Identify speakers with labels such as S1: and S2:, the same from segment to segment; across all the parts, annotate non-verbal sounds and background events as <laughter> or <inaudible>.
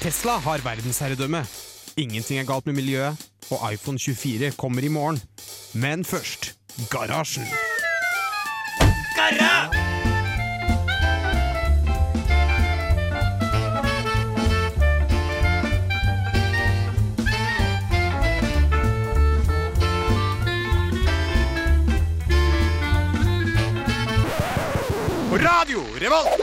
S1: Tesla har verdensherredømme. Ingenting er galt med miljøet, og iPhone 24 kommer i morgen. Men først garasjen.
S2: Radio Revolt!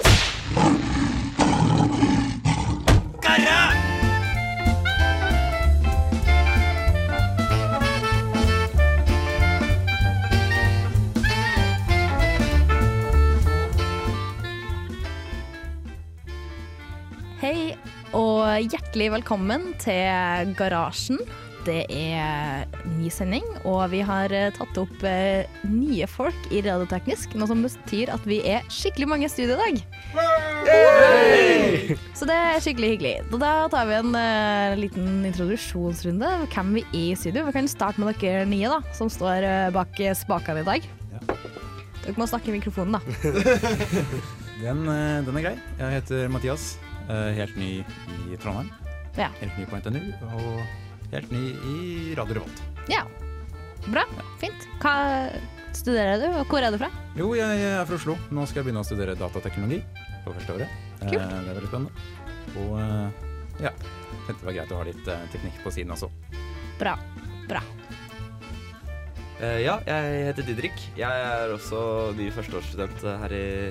S3: Hei og hjertelig velkommen til Garasjen. Det er ny sending, og vi har eh, tatt opp eh, nye folk i Radioteknisk. Noe som betyr at vi er skikkelig mange i studio i dag. Så det er skikkelig hyggelig. Og da tar vi en eh, liten introduksjonsrunde. Hvem vi er i studio. Vi kan starte med dere nye da, som står eh, bak spakene i dag. Dere må snakke i mikrofonen, da.
S4: Den, eh, den er grei. Jeg heter Mathias. eh, Helt ny i Trondheim.
S3: Ja.
S4: Helt ny på NTNU. Og helt ny i Radio Revolt.
S3: Ja. Bra. Fint. Hva studerer du, og hvor er du fra?
S4: Jo, jeg jeg er fra Oslo. Nå skal jeg begynne å studere datateknologi på første året. Eh,
S3: Kult.
S4: Det er veldig spennende. Og eh, ja, tenkte det var greit å ha litt eh, teknikk på siden også.
S3: Bra. Bra.
S5: Eh, ja, jeg heter Didrik. Jeg er også ny førsteårsstudent eh, her i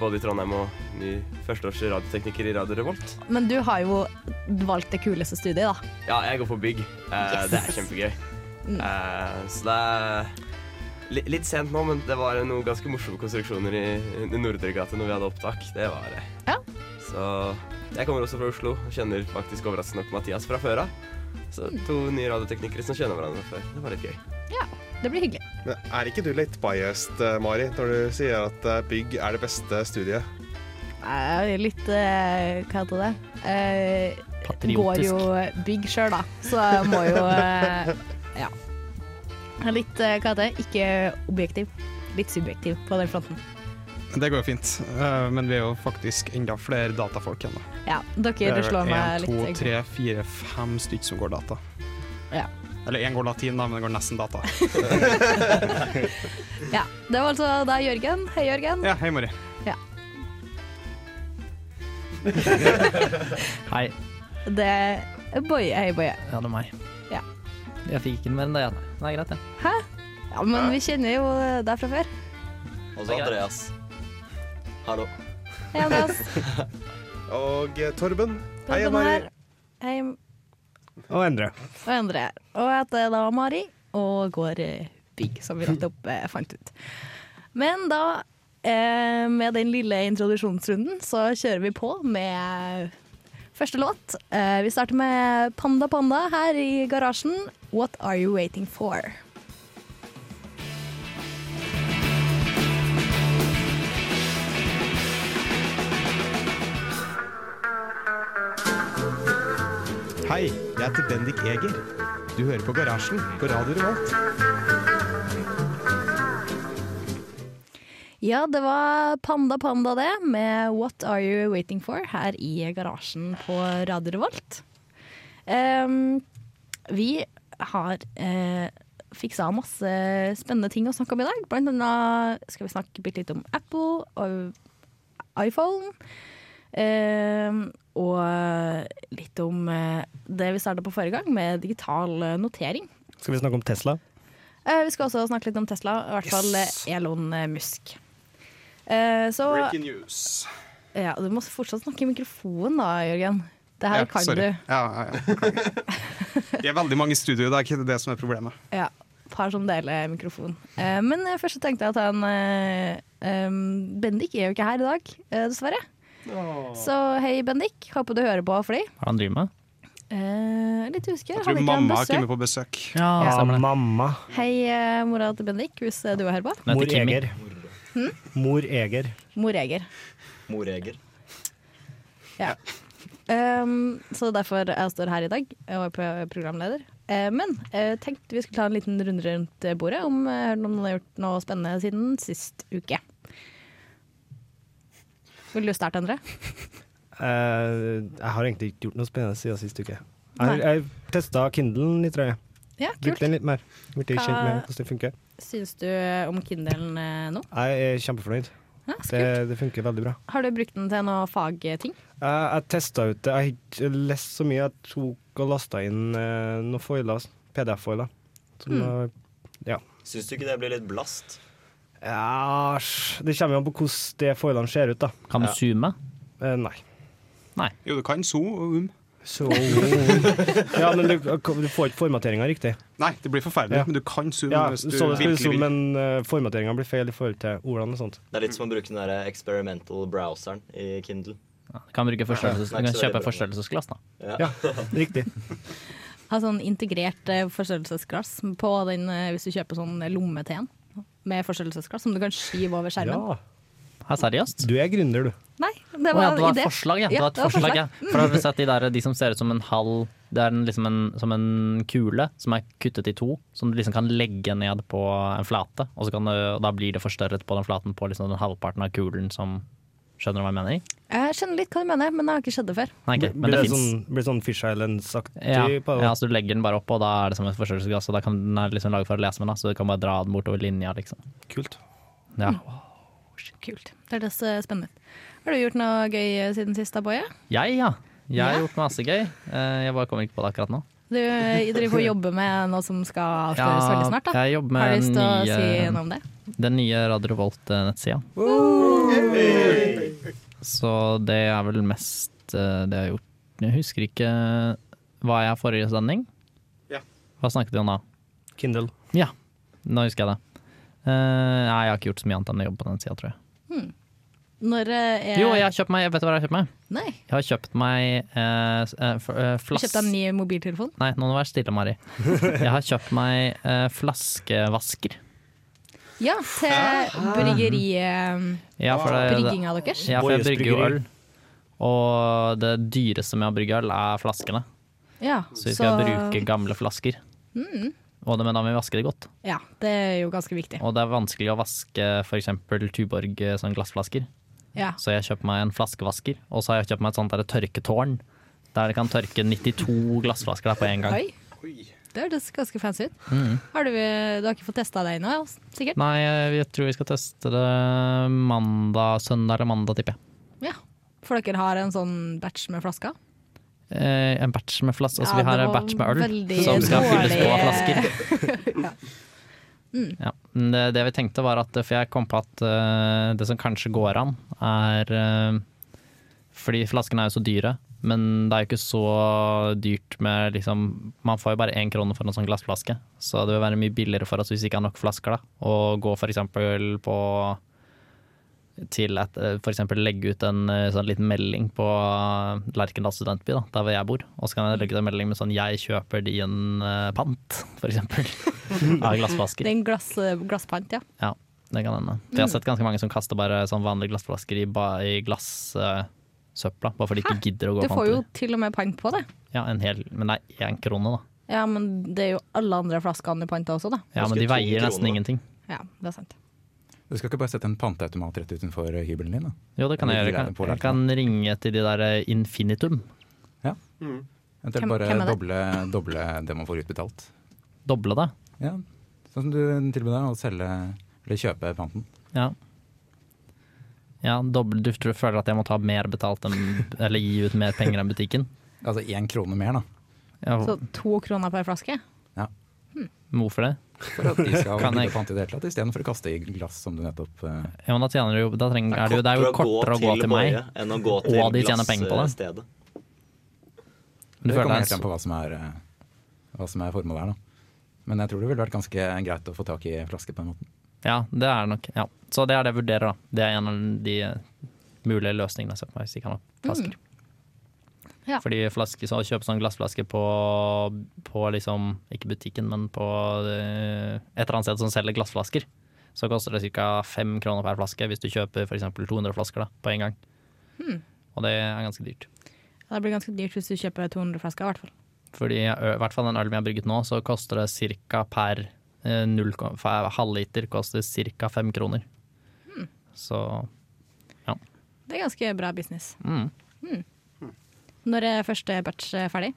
S5: både i Trondheim og ny førsteårs radiotekniker i Radio Revolt.
S3: Men du har jo valgt det kuleste studiet, da.
S5: Ja, jeg går på bygg.
S3: Yes.
S5: Eh,
S3: Mm.
S5: Det er
S3: <laughs>
S5: kjempegøy. Eh, så det er li litt sent nå, men det var noen ganske morsomme konstruksjoner i, i Nordregata når vi hadde opptak. Det var det.
S3: Ja.
S5: Så jeg kommer også fra Oslo og kjenner faktisk overraskende nok Mathias fra før av. Så
S3: Mm.
S5: to nye radioteknikere som kjenner hverandre fra før. Det var litt gøy.
S3: Ja, det blir hyggelig.
S2: Men er ikke du litt biased, eh, Mari, når du sier at eh, bygg er det beste studiet?
S3: Eh, Litt eh, Hva heter det? Eh, Går
S6: Patriotisk.
S3: jo bygg sjøl, da. Så jeg må jo eh, Ja. Jeg er Litt eh, Hva heter det? Ikke objektiv. Litt subjektiv på den fronten.
S6: Det går jo fint, eh, men vi er jo faktisk enda flere datafolk igjen. da.
S3: Ja, dere
S6: vel
S3: slår meg litt.
S6: to, tre, fire, fem stykker som går data.
S3: Ja.
S6: Eller én går latin, da, men det går nesten data.
S3: Ja, det var altså da Jørgen. Hei, Jørgen.
S6: Ja, hei,
S7: <laughs>
S6: Mari.
S8: Hei.
S3: Det er Boje. Hei, Boje.
S8: Ja, det er meg.
S3: Ja.
S8: Jeg fikk ikke den mer enn det. ja. Det er greit, det.
S3: Hæ? Ja, men vi kjenner jo eh, deg fra før.
S5: Og
S8: så
S5: Altså, Andreas. Hallo.
S3: Hei,
S5: <laughs>
S3: Andreas.
S2: Og eh, Torben. Hei,
S3: Torben
S2: Mari.
S3: her. Hei,
S6: Og Endre.
S3: og Endre her. Og jeg heter da Mari, og går eh, bygg, som vi nettopp eh, fant ut. Men da, eh, med den lille introduksjonsrunden, så kjører vi på med første låt. Eh, vi starter med Panda Panda her i garasjen. What are you waiting for?
S1: Hei, jeg heter Bendik Eger. Du hører på Garasjen på Radio Revolt.
S3: Ja, det var Panda Panda det, med What Are You Waiting For her i garasjen på Radio Revolt. Ehm, vi har eh, fiksa masse spennende ting å snakke om i dag. Blant annet skal vi snakke bitte litt om Apple og iPhone. Ehm, og litt om eh, det vi starta på forrige gang, med digital eh, notering.
S7: Skal vi snakke om Tesla?
S3: Eh, vi skal også snakke litt om Tesla, i hvert fall eh, Elon Musk. Eh, så
S6: Breaking news.
S3: ja, Du må fortsatt snakke i mikrofonen da, Jørgen. Det her kan
S6: sorry.
S3: du.
S6: Ja, ja, ja. beklager. Vi er veldig mange i studio i dag, det er det som er problemet.
S3: Ja, Par som deler mikrofon. Eh, men eh, først så tenkte jeg at han eh, em, Bendik er jo ikke her i dag, eh, dessverre. Så hei, Bendik. Håper du hører på fordi
S8: Hva er det han driver med?
S3: eh, Litt usikker.
S6: Jeg tror
S3: hadde ikke han
S6: mamma har
S3: besøk?
S6: kommet på besøk.
S8: Ja, stemmer det.
S7: mamma.
S3: Hei, eh, mora til Bendik, hvis eh, du er her på.
S8: Den
S7: Mor
S8: heter Kimmi.
S7: Eger. Mor Eger.
S3: Mor Eger.
S5: Mor Eger.
S3: Ja. Ehm, så derfor jeg står her i dag og er pro- programleder. Eh, men jeg tenkte vi skulle ta en liten runde rundt bordet om, eh, om noen har gjort noe spennende siden sist uke. Vil du starte, Endre?
S7: Eh, jeg har egentlig ikke gjort noe spennende siden sist uke.
S3: Nei.
S7: Jeg, jeg testa Kindlen litt, tror jeg.
S3: Ja,
S7: Brukte
S3: kult.
S7: den litt mer. Blitt litt kjent med
S3: Hva-
S7: hvordan det funker.
S3: Syns du om Kindelen eh, nå?
S7: Jeg er kjempefornøyd.
S3: Ja, så
S7: Det,
S3: kult.
S7: det funker veldig bra.
S3: Har du brukt den til noe fagting?
S7: Jeg, jeg testa ut det. Jeg har ikke lest så mye. Jeg tok og lasta inn eh, noen foiler, PDF-foiler.
S3: Mm.
S7: Som eh,
S9: Syns du ikke det blir litt blast?
S7: Ja, sj, det kommer jo an på hvordan det foilene ser ut, da.
S8: Kan du zoome?
S7: Eh, nei.
S6: Jo, du kan so og um.
S7: Så <laughs> Ja, men du, du får ikke formateringa riktig.
S6: Nei, det blir forferdelig,
S7: Ja.
S6: men du kan zoome
S7: Ja,
S6: hvis
S7: så
S6: du
S7: det skal
S6: virkelig
S7: du zoome,
S6: vil.
S7: men uh, formateringa blir feil i forhold til ordene og sånt.
S9: Det er litt som å bruke den der experimental browseren i Kindle.
S8: Ja, du kan bruke forstørrelses-
S9: Nei,
S8: du kan
S9: ikke så
S8: kjøpe
S9: veldig bra.
S8: forstørrelsesglass, da.
S7: Ja, <laughs> riktig.
S3: Ha sånn integrert eh, forstørrelsesglass på den eh, hvis du kjøper sånn lomme-teen med forstørrelsesglass som du kan skyve over skjermen.
S7: Ja.
S8: Hæ, seriøst?
S7: Du er gründer, du.
S3: Nei, det
S8: Å ja,
S3: var
S8: det var
S3: en idé.
S8: et forslag, ja. Det var et forslag, ja. For da har vi sett de, der, de som ser ut som en halv Det er en, liksom en, som en kule som er kuttet i to, som du liksom kan legge ned på en flate. Og, så kan du, og da blir det forstørret på den flaten på liksom den halvparten av kulen som Skjønner du hva jeg mener?
S3: Jeg skjønner litt hva du mener, men det har ikke skjedd det før.
S8: Nei, ikke, men
S7: blir
S8: det
S7: det
S8: fins.
S7: sånn, blir det sånn Fish Islands-aktig
S8: Ja,
S7: på
S8: ja,
S7: det?
S8: så du legger den bare opp, og da er det som et forstørrelsesglass. Og da kan den er liksom laget for å lese med, da, så du kan bare dra den bortover linja, liksom.
S7: Kult.
S8: Ja.
S3: Kult. Det er det som er spennende. Har du gjort noe gøy eh, siden sist, da, Boje?
S8: Jeg, ja. Jeg har
S3: Ja.
S8: gjort masse gøy. Eh, Jeg bare kommer ikke på det akkurat nå.
S3: Du eh, driver
S8: <laughs>
S3: og jobber med noe som skal avsløres
S8: Ja,
S3: veldig snart. da.
S8: jeg jobber med eh,
S3: Har du lyst til å
S8: nye-
S3: si noe om det?
S8: Den nye Radio Revolt-nettsida. Så det er vel mest eh, det jeg har gjort. Jeg husker ikke Hva jeg forrige sending?
S2: Ja.
S8: Hva snakket vi om da?
S7: Kindle.
S8: Ja, nå husker jeg det. Eh, nei, jeg har ikke gjort så mye annet enn å jobbe på den sida, tror jeg.
S3: Når eh, er
S8: Jo, jeg har kjøpt meg, vet du hva jeg har kjøpt meg?
S3: Nei.
S8: Jeg har kjøpt meg eh, s- eh, f- eh,
S3: Du
S8: flas...
S3: kjøpte en ny mobiltelefon?
S8: Nei, nå må du være stille, Mari. Jeg har kjøpt meg eh, flaskevasker.
S3: Ja, til bryggeriet.
S8: Ja, for det, det,
S3: Brygginga deres.
S8: Ja, for jeg
S7: Bojes
S8: brygger jo
S7: bryggeri.
S8: øl. Og det dyreste med å brygge øl er flaskene.
S3: Ja,
S8: Så vi skal bruke gamle flasker.
S3: Mm.
S8: Og det, men da må vi vaske det godt.
S3: Ja, det er jo ganske viktig.
S8: Og det er vanskelig å vaske f.eks. Tuborg eh, sånn glassflasker.
S3: Ja.
S8: Så jeg kjøper meg en flaskevasker, og så har jeg kjøpt meg et sånt der tørketårn. Der det kan tørke 92 glassflasker der på en gang.
S3: Oi. Det hørtes ganske fancy ut.
S8: Mm.
S3: Har du, du har ikke fått testa deg ennå, sikkert?
S8: Nei, jeg tror vi skal teste det mandag, søndag eller mandag, tipper jeg.
S3: Ja. For dere har en sånn batch med flasker?
S8: Eh, en batch med flasker. Altså,
S3: Ja,
S8: vi har
S3: det
S8: en
S3: var
S8: batch med øl
S3: veldig
S8: som skal fylles på av
S3: dårlig- Mm. <laughs>
S8: flasker. Ja, men det, det vi tenkte var at For jeg kom på at eh, det som kanskje går an, er eh, Fordi flaskene er jo så dyre, men det er jo ikke så dyrt med liksom Man får jo bare én krone for en sånn glassflaske, så det vil være mye billigere for oss hvis vi ikke har nok flasker, da. Å gå for eksempel på til et, eh, for eksempel legge ut en eh, sånn liten melding på eh, Lerkendal studentby, da, der hvor jeg bor. Og så kan jeg legge ut en melding med sånn 'jeg kjøper din eh, pant', for eksempel. Av glassflasker.
S3: Det er en glass, glasspant, ja.
S8: Ja, det kan hende.
S3: Mm.
S8: For jeg har sett ganske mange som kaster bare sånn vanlige glassflasker i, ba- i glassøpla, bare fordi de ikke gidder å gå
S3: Du
S8: pant
S3: får
S8: i
S3: jo
S8: det.
S3: til og med pant på det.
S8: Ja, en hel, men det er én krone, da.
S3: Ja, men det er jo alle andre flaskene du panta også, da.
S8: Ja, men de
S9: Ganske to
S8: veier nesten
S9: kroner.
S8: ingenting.
S3: Ja, det er sant.
S4: Du skal ikke bare sette en panteautomat rett utenfor eh, hybelen din? da?
S8: Jo, det kan
S4: Ja, de
S8: jeg gjøre. Jeg
S4: greiene på
S8: kan, jeg kan ringe til de der eh, Infinitum.
S4: Eventuelt
S3: Hvem-
S4: bare
S3: hvem er det?
S4: doble, doble det man får utbetalt.
S8: Doble det.
S4: Ja, Sånn som du tilbød deg å selge eller kjøpe panten.
S8: Ja. Ja, doble, du tror- føler at jeg må ta mer betalt enn, <laughs> eller gi ut mer penger enn butikken?
S4: Altså én krone mer, da.
S8: Ja,
S3: Så to kroner per flaske?
S8: hvorfor det?
S4: For
S8: <laughs>
S4: at de skal
S8: Kan jeg-
S4: gidde å pante i det hele tatt, istedenfor å kaste i glass som du nettopp eh,
S8: Ja, men da tjener du jo da trenger, er det, jo, det er jo kortere å gå til meg.
S9: Boje enn å gå
S8: Og
S9: til
S8: de tjener penger på det.
S9: glassstedet.
S8: Du
S4: Det
S8: føler
S4: kommer
S8: deg
S4: helt an på hva som er, eh, hva som er formålet her, da. Men jeg tror det ville vært ganske greit å få tak i flaske på den måten.
S8: Ja, det er det nok. Ja. Så det er det jeg vurderer, da. Det er en av de eh, mulige løsningene jeg ser på meg, hvis jeg kan ha flasker.
S3: Ja.
S8: Fordi flasker, så å kjøpe sånn glassflaske på, på liksom, ikke butikken, men på eh, et eller annet sted som selger glassflasker, så koster det ca. fem kroner per flaske hvis du kjøper f.eks. 200 flasker da, på en gang. Og det er ganske dyrt.
S3: Ja, Det blir ganske dyrt hvis du kjøper 200 flasker, i hvert fall.
S8: Fordi jeg- i hvert fall den ølen vi har brygget nå, så koster det ca. per eh, null ko- fa- halvliter koster ca. fem kroner. Så
S3: Det er ganske bra business.
S8: Mm.
S3: Når er første batch eh, ferdig?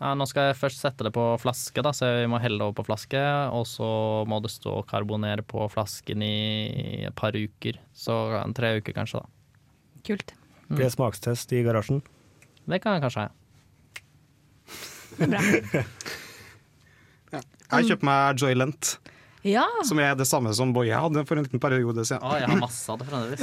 S8: Ja, nå skal jeg først sette det på flaske, da, så vi må helle det over på flaske. Og så må det stå og karbonere på flasken i et par uker. Så en tre uker kanskje, da.
S3: Kult.
S7: Blir det smakstest i garasjen?
S8: Det kan jeg kanskje ha.
S6: Jeg kjøpte meg Joy Lent,
S3: Ja,
S6: som er det samme som Boje hadde for en liten periode siden.
S8: Å, jeg har masse av det fremdeles.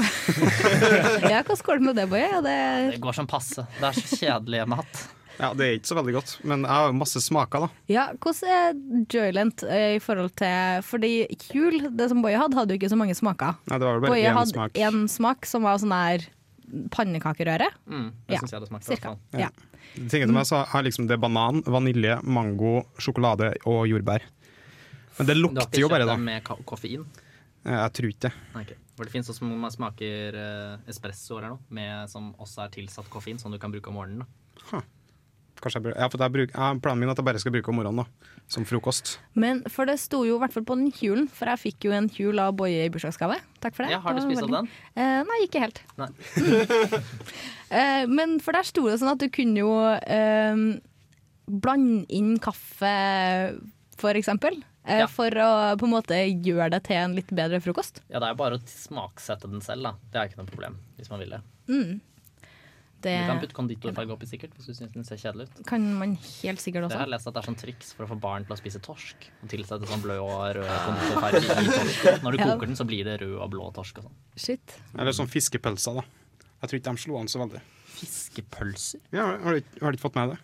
S3: ja hva skål med det, Boje? Ja, det-
S8: Det går som passe. Det er så kjedelig en hatt.
S6: Ja, det er ikke så veldig godt, men jeg har masse smaker, da.
S3: Ja, hvordan er Joylent eh, i forhold til Fordi Kjul, det som Boje hadde, hadde jo ikke så mange smaker.
S6: Nei, det var vel bare
S3: Boje
S6: én
S3: hadde
S6: smak.
S3: én smak som var sånn der pannekakerøre,
S8: Mm,
S3: Ja,
S8: det synes jeg det smakte. i hvert
S3: cirka.
S8: fall.
S3: Ja.
S6: Tingene til meg så har liksom det er banan, vanilje, mango, sjokolade og jordbær. Men det
S8: Du har
S6: lukter
S8: ikke
S6: jo bare,
S8: kjøpt
S6: da.
S8: den med ka- koffein?
S6: Jeg tror ikke det.
S8: Nei, ok. For det finnes også som man smaker eh, espresso eller noe, med, som også er tilsatt koffein, som du kan bruke om morgenen. da.
S6: Kanskje jeg, bør- ja, for jeg, bruk, jeg har planen min er at jeg bare skal bruke om morgenen, da. Som frokost.
S3: Men for det sto jo i hvert fall på den kjulen, for jeg fikk jo en kjul av Boje i bursdagsgave. Takk for det.
S8: Ja, har du
S3: Det var
S8: spist opp
S3: veldig-
S8: den?
S3: Eh, nei, ikke helt. Mm.
S8: Nei.
S3: <laughs> Eh, men for der sto det sånn at du kunne jo eh, blande inn kaffe, for eksempel. eh,
S8: Ja.
S3: For å på en måte gjøre det til en litt bedre frokost.
S8: Ja, det er jo bare å smaksette den selv, da. Det er ikke noe problem, hvis man vil det. Eh,
S3: Det
S8: Du kan putte konditorfarge oppi sikkert, hvis du syns den ser kjedelig ut.
S3: kan man helt sikkert
S8: Det
S3: også.
S8: har jeg lest at det er sånn triks for å få barn til å spise torsk. Og tilsette sånn blød og rød konditorfarge i torsken. <laughs> Når du
S3: Ja.
S8: koker den, så blir det rød og blå torsk og sånn.
S3: Shit.
S6: Eller sånn fiskepølser, da. Jeg tror ikke de slo an så veldig.
S8: Fiskepølser?
S6: Ja, har du ikke- har du ikke fått med det?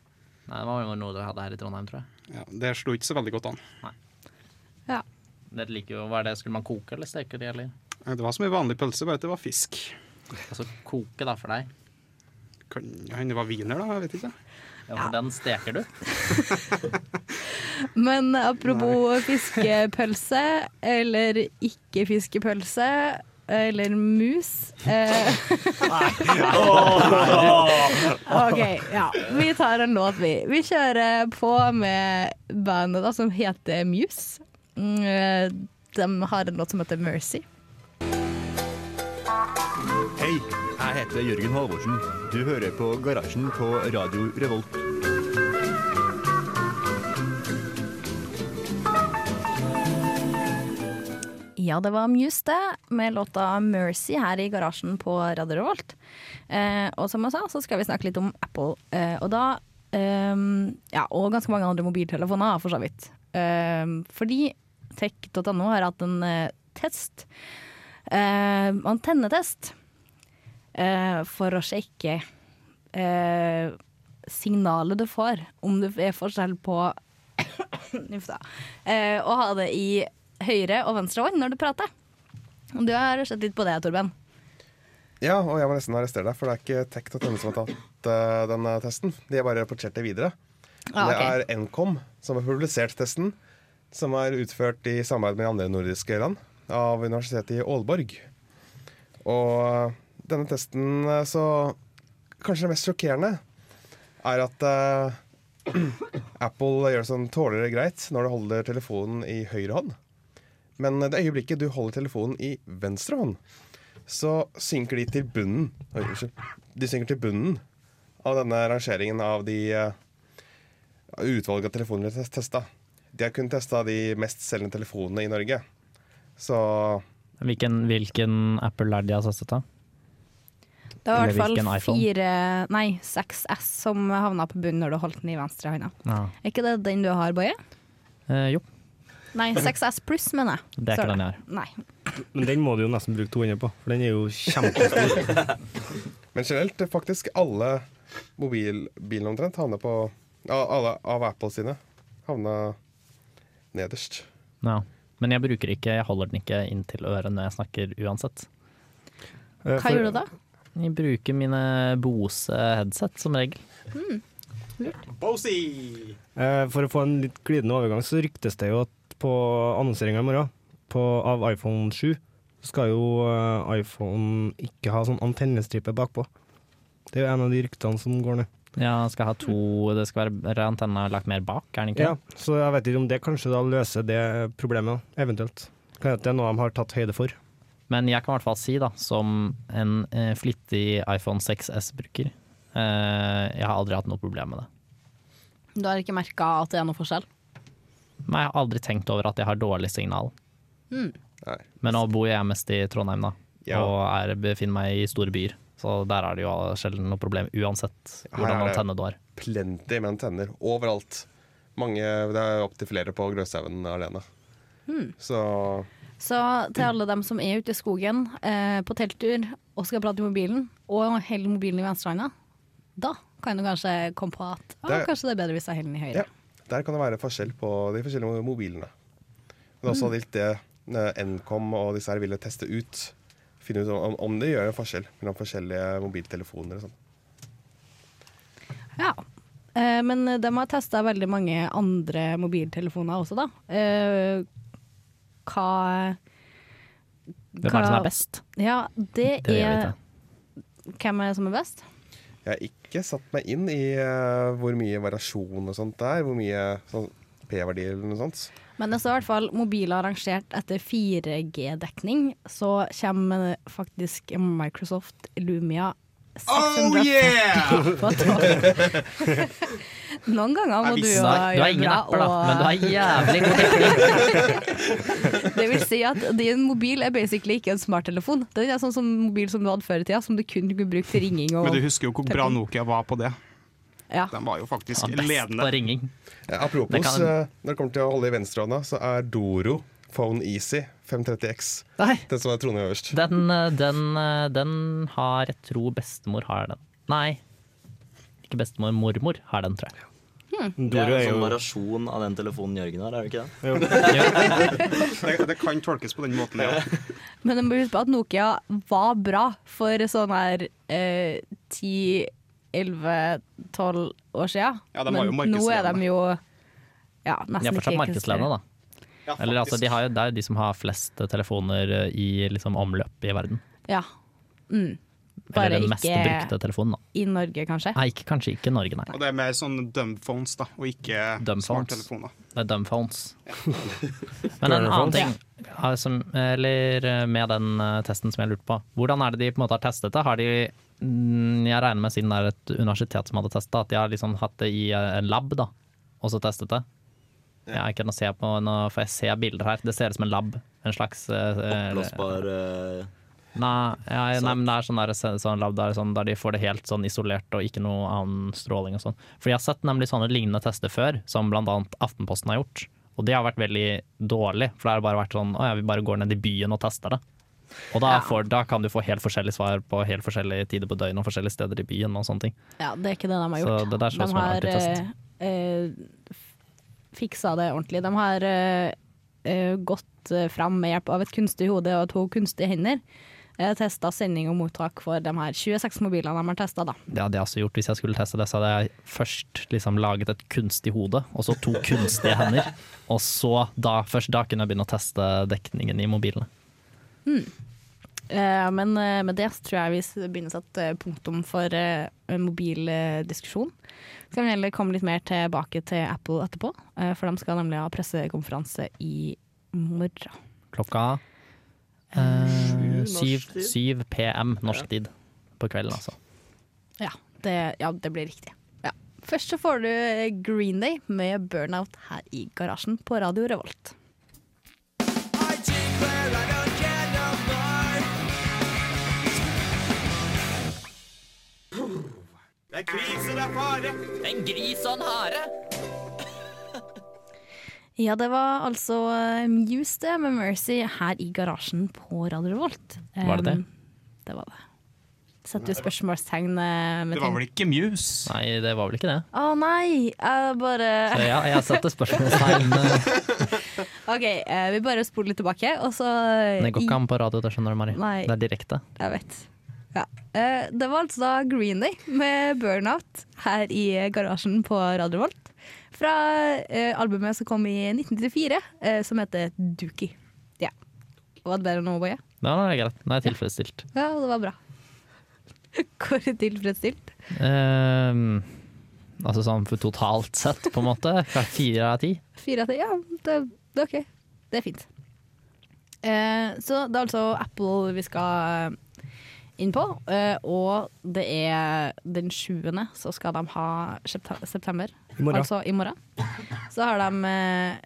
S8: Nei, det var jo noe dere hadde her i Trondheim, tror jeg.
S6: Ja, det slo ikke så veldig godt an.
S3: Ja.
S8: Dere liker jo, hva er det, Skulle man koke eller steke de, eller?
S6: Det var som en vanlig pølse, bare at det var fisk.
S8: Altså koke, da, for deg.
S6: Kan hende det var wiener, da. Jeg vet ikke.
S8: Ja, for den steker du.
S3: Men apropos fiskepølse, eller ikke fiskepølse, eller mus eh, OK, ja. Vi tar en låt, vi. Vi kjører på med bandet da, som heter Muse. Mm, eh, De har en låt som heter Mercy.
S10: Hei, jeg heter Jørgen Halvorsen. Du hører på Garasjen på Radio Revolt.
S3: Ja, det var Muse det, med låta 'Mercy' her i garasjen på Radio Revolt. Eh, og som jeg sa, så skal vi snakke litt om Apple. Eh, og da eh, Ja, og ganske mange andre mobiltelefoner, for så vidt. Eh, fordi tech.no har hatt en eh, test, eh, antennetest, eh, for å sjekke eh, signalet du får, om det er forskjell på Uff da. Eh, og ha det i høyre og venstre hånd når du prater. Du har sett litt på det, Torben.
S2: Ja, og jeg må nesten arrestere deg, for det er ikke Tech.no som har tatt eh, denne testen. De har bare rapportert det videre.
S3: Ah, ok.
S2: Det er Nkom som har publisert testen, som er utført i samarbeid med andre nordiske land av Universitetet i Aalborg. Og denne testen eh, så Kanskje det mest sjokkerende er at eh, <clears throat> Apple gjør det sånn tåler det greit når du holder telefonen i høyre hånd. Men det øyeblikket du holder telefonen i venstre hånd, så synker de til bunnen Oi, unnskyld. De synker til bunnen av denne rangeringen av de eh, utvalget av telefoner de har testa. De har kun testa de mest selgende telefonene i Norge. Så
S8: Hvilken, hvilken Apple er det de har satset på?
S3: Det var i
S8: Eller
S3: hvert
S8: hvilken
S3: fall
S8: iPhone?
S3: fire, nei, 6S som havna på bunnen når du holdt den i venstre hånda. Er ikke det den du har, Boje?
S8: Eh, jo,
S3: Nei, 6S pluss, mener jeg.
S8: det er
S3: Sorry.
S8: ikke den jeg har.
S3: Nei.
S7: Men den må du jo nesten bruke 200 på, for den er jo kjempestor.
S2: Men generelt, faktisk alle mobilbilene omtrent havner på a- Alle av Apple sine havna nederst.
S8: Ja. Men jeg bruker ikke, jeg holder den ikke inntil øret når jeg snakker uansett.
S3: Hva gjør du da?
S8: Jeg bruker mine Bose headset som regel.
S6: Bosie!
S7: Eh, For å få en litt glidende overgang, så ryktes det jo at på annonseringa i morgen på, av iPhone 7, så skal jo eh, iPhone ikke ha sånn antennestripe bakpå. Det er jo en av de ryktene som går ned.
S8: Ja, skal ha to, det skal være antenna lagt mer bak, er den ikke?
S7: Ja, så jeg vet ikke om det kanskje da løser det problemet, da, eventuelt. Kan hende det er noe de har tatt høyde for.
S8: Men jeg kan i hvert fall si, da, som en eh, flittig iPhone 6S-bruker, eh, jeg har aldri hatt noe problem med det.
S3: Du har ikke merka at det er noe forskjell?
S8: Men jeg har aldri tenkt over at jeg har dårlig signal.
S3: Mm.
S8: Men nå bor jeg mest i Trondheim, da,
S2: Ja.
S8: og er, befinner meg i store byer. Så der er det jo sjelden noe problem, uansett
S2: Her
S8: hvordan
S2: er
S8: antenne
S2: det
S8: du har.
S2: Plenty med antenner overalt. Mange, det er opptil flere på Grøshaugen alene.
S3: Hmm.
S2: Så
S3: Så til alle dem som er ute i skogen eh, på telttur og skal prate i mobilen, og holder mobilen i venstrehånda, da kan du kanskje komme på at ah,
S2: Det-
S3: kanskje det er bedre hvis jeg holder den i høyre.
S2: ja, der kan det være forskjell på de forskjellige mobilene. Men også
S3: Mm.
S2: litt det eh, Nkom og disse her ville teste ut. Finne ut om, om det gjør en forskjell mellom forskjellige mobiltelefoner. og sånn.
S3: Ja. Eh, men de har testa veldig mange andre mobiltelefoner også, da. Eh, hva
S8: Hvem er det som er best?
S3: Ja, det,
S8: Det vil jeg
S3: er Hvem er det som er best?
S2: Jeg har ikke satt meg inn i eh, hvor mye variasjon og sånt det er. Hvor mye sånn, P-verdier eller noe sånt.
S3: Men det står i hvert fall mobiler arrangert etter 4G-dekning, så kommer faktisk Microsoft Lumia 650
S11: Oh, yeah!
S3: på topp.
S8: <laughs>
S3: Noen ganger må du
S8: visste
S3: jo
S8: det. Du har ingen apper, da, men du har jævlig god
S3: dekning. det vil si at din mobil er basically ikke en smarttelefon. Den er sånn som mobil som du hadde før i tida, som du kun kunne bruke til ringing og
S6: Men du husker jo hvor bra Nokia var på det.
S3: Ja.
S6: Den var jo faktisk
S8: Han er best
S6: ledende.
S8: på ringing.
S2: Eh, Apropos,
S8: Det kan-
S2: eh, når det kommer til å holde i venstrehånda, så er Doro Phone Easy 530X
S8: Nei.
S2: den som er trona øverst.
S8: Den, eh, den, eh, den har Jeg tror bestemor har den. Nei, ikke bestemor. Mormor har den, tror jeg.
S9: Det er en sånn variasjon av den telefonen Jørgen har, er det ikke det?
S6: det, det kan tolkes på den måten, ja.
S3: Men jeg må huske på at Nokia var bra for sånn her eh, 10, 11, 12 år siden.
S8: Ja, de var jo
S3: Men nå er
S8: markedsledende.
S3: de jo ja, nesten
S8: De er fortsatt
S3: Altså, ikke
S8: markedsledende, da. Eller altså, de har jo, Det er jo de som har flest eh, telefoner eh, i liksom, omløp i verden.
S3: Ja. Mm.
S8: Eller den mest brukte telefonen, da.
S3: i Norge, kanskje.
S8: Nei, ikke, kanskje ikke Norge, nei.
S6: Og det er mer sånn dumbphones, da, og ikke
S8: Dumbphones.
S6: smarttelefoner.
S8: Det er dumbphones. <laughs> Men en annen ting eh, som, eller eh, med den eh, testen som jeg lurte på. Hvordan er det de på en måte har testet det? Har de, mm, jeg regner med siden det er et universitet som hadde testet, at de har liksom hatt det i eh, en lab da, og så testet det? Jeg er ikke noe å se på nå, for jeg ser bilder her. Det ser ut som en lab. En slags eh,
S9: Oppblåsbar eh,
S8: Nei, ja, ja, nei, men det er sånn, der, sånn lab der, sånn, der de får det helt sånn isolert og ikke noe annen stråling og sånn. For jeg har sett nemlig sånne lignende tester før, som blant annet Aftenposten har gjort. Og det har vært veldig dårlig, for det har bare vært sånn å ja, vi bare går ned i byen og tester det. Og da, får, da kan du få helt forskjellige svar på helt forskjellige tider på døgnet og forskjellige steder i byen og sånne ting.
S3: Ja, det er ikke det de har
S8: Så
S3: gjort.
S8: det der så ut
S3: de
S8: som en
S3: har
S8: antitest.
S3: eh, eh, f- fiksa det ordentlig. De har eh, eh, gått eh, fram med hjelp av et kunstig hode og to kunstige hender. Eh, testa sending og mottak for de her 26 mobilene de har testa, da.
S8: Det hadde jeg også gjort hvis jeg skulle teste det. Så hadde jeg først liksom laget et kunstig hode, og så to kunstige hender. Og så, da, først da kunne jeg begynne å teste dekningen i mobilene.
S3: Eh, men eh, med det så tror jeg vi s- begynner å sette eh, punktum for eh, mobildiskusjon. Så kan vi heller komme litt mer tilbake til Apple etterpå, eh, for de skal nemlig ha pressekonferanse i morgen.
S8: Klokka eh,
S3: Sju norsk
S8: syv
S3: tid.
S8: syv PM norsk tid på kvelden, altså.
S3: Ja det, ja, det blir riktig. Ja. Først så får du eh, Green Day med 'Burnout' her i garasjen på Radio Revolt.
S11: Det er krise, det er fare. En gris og en hare.
S3: Ja, det var altså eh, Muse det med 'Mercy' her i garasjen på Radio Revolt.
S8: Var det det?
S3: Um, Det var det. Setter du spørsmålstegn eh, med
S6: Det var
S3: ting?
S6: vel ikke Muse?
S8: Nei, det var vel ikke det.
S3: Å nei, jeg bare
S8: Så ja, jeg setter spørsmålstegn.
S3: <laughs>
S8: eh,
S3: OK, eh, vi bare spoler litt tilbake, og så eh,
S8: Det går ikke an på radio, det skjønner du, Mari.
S3: Nei.
S8: Det er direkte.
S3: Jeg vet. Ja. Eh, Det var altså da Green Day med 'Burnout' her i garasjen på Radio Volt. Fra eh, albumet som kom i 1994, eh, som heter 'Dookie'. Ja. Var det bedre nå, Boje?
S8: Nei, nei, det er greit. Nå er jeg tilfredsstilt.
S3: Ja, det var bra. <laughs> Hvor tilfredsstilt?
S8: Ehm, altså sånn for totalt sett, på en måte. Fra fire av ti.
S3: Fire av ti? Ja, det, det er OK. Det er fint. Eh, så det er altså Apple vi skal eh, inn på. Eh, og det er den sjuende, så skal de ha septe- september.
S7: I morgen.
S3: Altså i morgen. Så har de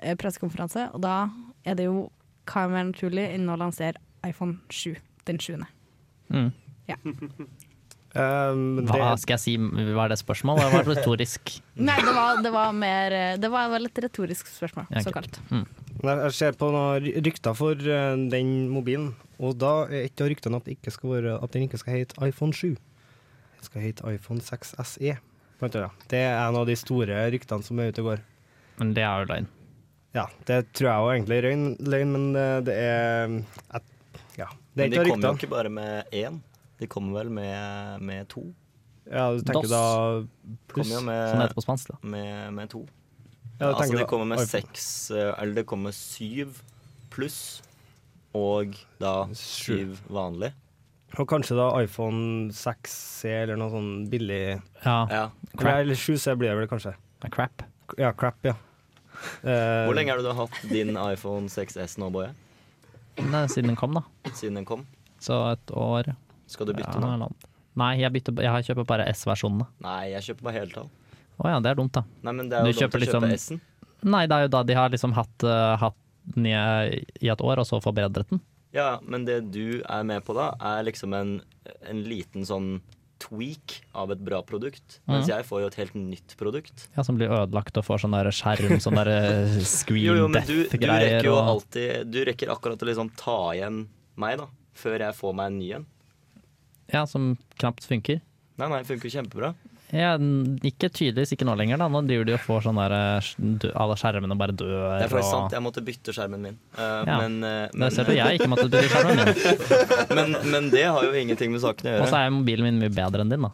S3: eh, pressekonferanse, og da er det jo hva er mer naturlig enn å lansere iPhone 7 den sjuende. Ja.
S7: Ehm,
S8: Hva skal jeg si? Var det spørsmål? Det var retorisk.
S3: Nei, det var, det var mer eh, Det var vel et retorisk spørsmål,
S8: Ja, ok.
S3: såkalt.
S7: Men Jeg ser på noen ry- rykter for eh, den mobilen, og da er et av ryktene at, det ikke skal være, at den ikke skal hete iPhone 7. Den skal hete iPhone 6 SE. blant annet. Det er en av de store ryktene som er ute og går.
S8: Men det er jo løgn.
S7: Ja, det tror jeg jo egentlig er løgn- løgn, men det, det er jeg- Ja. Det er
S9: Men
S7: et
S9: de
S7: av
S9: kommer jo
S7: ryktene.
S9: ikke bare med én, de kommer vel med, med to.
S7: Ja, du tenker
S9: Dos.
S7: da pluss,
S9: Kommer jo med,
S8: Sånn
S7: som det heter på spansk, da.
S9: Med, med to.
S7: Ja, du tenker
S9: altså,
S7: da
S9: det kommer med
S7: iPhone.
S9: seks, eh, eller det kommer med syv pluss, og da syv vanlig.
S7: Og kanskje da iPhone 6C eller noe sånn billig
S8: Ja.
S7: Crap. Eller 7C blir det vel kanskje.
S8: Crap.
S7: Ja, crap, ja. Eh,
S9: Hvor lenge har du da hatt din iPhone 6S nå, Boje?
S8: Nei, siden den kom, da.
S9: Siden den kom?
S8: Så et år.
S9: Skal du bytte
S8: ja,
S9: nå?
S8: eller annet. Nei, jeg, bytter, ba- jeg kjøper bare S-versjonene.
S9: Nei, jeg kjøper bare heltall.
S8: Å ja, det er dumt, da.
S9: Nei, men det er jo
S8: Du
S9: dumt å
S8: kjøper
S9: kjøpe
S8: liksom-
S9: S-en.
S8: Nei, det er jo da de har liksom hatt, eh, hatt den i, i et år, og så forbedret den.
S9: Ja, men det du er med på da, er liksom en, en liten sånn tweak av et bra produkt. Mens
S8: Mhm.
S9: jeg får jo et helt nytt produkt.
S8: Ja, Som blir ødelagt og får sånn der skjerm,
S9: <laughs>
S8: sånn der eh, screen
S9: Jo, jo, men du, du rekker
S8: death-greier.
S9: jo
S8: og-
S9: alltid Du rekker akkurat å liksom ta igjen meg, da. Før jeg får meg en ny en.
S8: Ja, som knapt funker.
S9: Nei, nei, funker kjempebra.
S8: Ja, n- ikke tydeligvis ikke nå lenger, da. Nå driver de og får sånn der eh, sk- dø- Alle skjermene bare dør.
S9: Det er faktisk
S8: og-
S9: sant, jeg måtte bytte skjermen min. Eh,
S8: Ja.
S9: men, eh,
S8: Det ser du, jeg ikke måtte bytte skjermen
S9: <laughs> min. <laughs> men, men det har jo ingenting med saken å
S8: Og så
S9: gjøre.
S8: er mobilen min mye bedre enn din, da.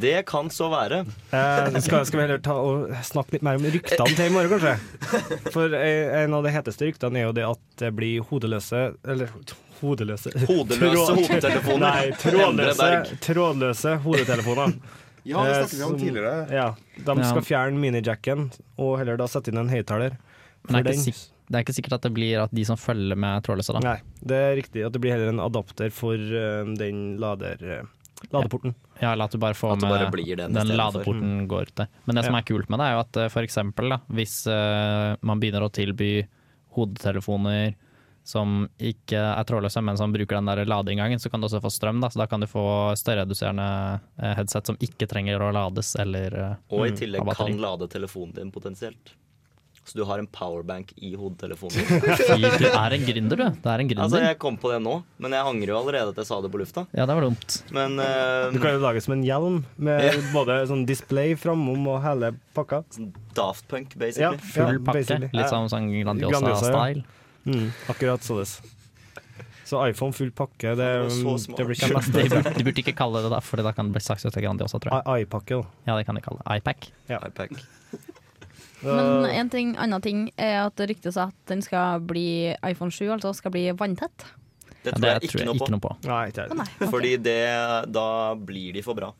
S9: Det kan så
S7: <laughs>
S9: være.
S7: Eh, skal, skal vi heller ta og snakke litt mer om ryktene til i morgen, kanskje? For eh, en av de heteste ryktene er jo det at det blir hodeløse Eller hodeløse
S9: Hodeløse
S7: Tråd-
S9: hodetelefoner.
S7: Nei,
S9: Endre
S7: trådløse,
S9: Berg.
S7: trådløse hodetelefoner.
S2: Ja, det
S7: Eh,
S2: snakket vi om
S7: som-
S2: tidligere.
S7: Ja, de
S8: Ja.
S7: skal fjerne minijacken og heller da sette inn en høyttaler.
S8: Men det
S7: For
S8: er, ikke
S7: den-
S8: sik det er ikke sikkert at det blir at de som følger med trådløse, da.
S7: Nei, det er riktig at det blir heller en adapter for eh, den lader, eh, ladeporten.
S8: Ja, eller at du bare får
S9: det bare
S8: med
S9: blir den
S8: den,
S9: istedenfor.
S8: ladeporten går ut der. Men det som
S7: Mm. Ja.
S8: er kult med det, er jo at eh, for eksempel da, hvis eh, man begynner å tilby hodetelefoner som ikke er trådløse, men som bruker den der ladeinngangen, så kan du også få strøm. Da. Så da kan du få støyreduserende eh, headset som ikke trenger å lades eller eh,
S9: Og i
S8: mm, ha
S9: tillegg
S8: batteri.
S9: kan lade telefonen din potensielt. Så du har en powerbank i
S7: <laughs>
S9: hodetelefonen din.
S8: Fy, Du er en gründer, du. Det er en
S9: Altså,
S8: gründer.
S9: jeg kom på det nå, men jeg angrer jo allerede at jeg sa det på lufta.
S8: Ja, det var dumt.
S9: Men eh,
S7: Du kan jo lage som en hjelm, med både sånn display framom og hele pakka.
S9: sånn Daft Punk,
S7: Ja.
S9: basically.
S8: Full pakke.
S7: basically.
S8: Litt sånn, sånn
S7: Grandiosa, ja. <laughs>
S8: Grandiosa-style.
S7: Mm, akkurat sådes. Så iPhone full pakke, det,
S9: var så smart.
S7: Um, det blir
S8: Ja, men <laughs> De
S7: kjempebra.
S8: burde, de burde ikke kalle det det, for da kan det bli sagt at det er Grandiosa, tror jeg.
S7: I- iPakke, da.
S8: Ja, det kan de kalle det. iPack.
S9: iPack.
S3: Men
S7: Eh,
S3: en ting, annen ting er at det ryktes at den skal bli iPhone 7, altså skal bli vanntett.
S9: Det
S8: Ja,
S9: tror jeg ikke noe på.
S8: på.
S7: Nei, ikke
S3: Å
S7: jeg.
S3: nei, ok.
S9: <laughs> Fordi det, da blir de for bra.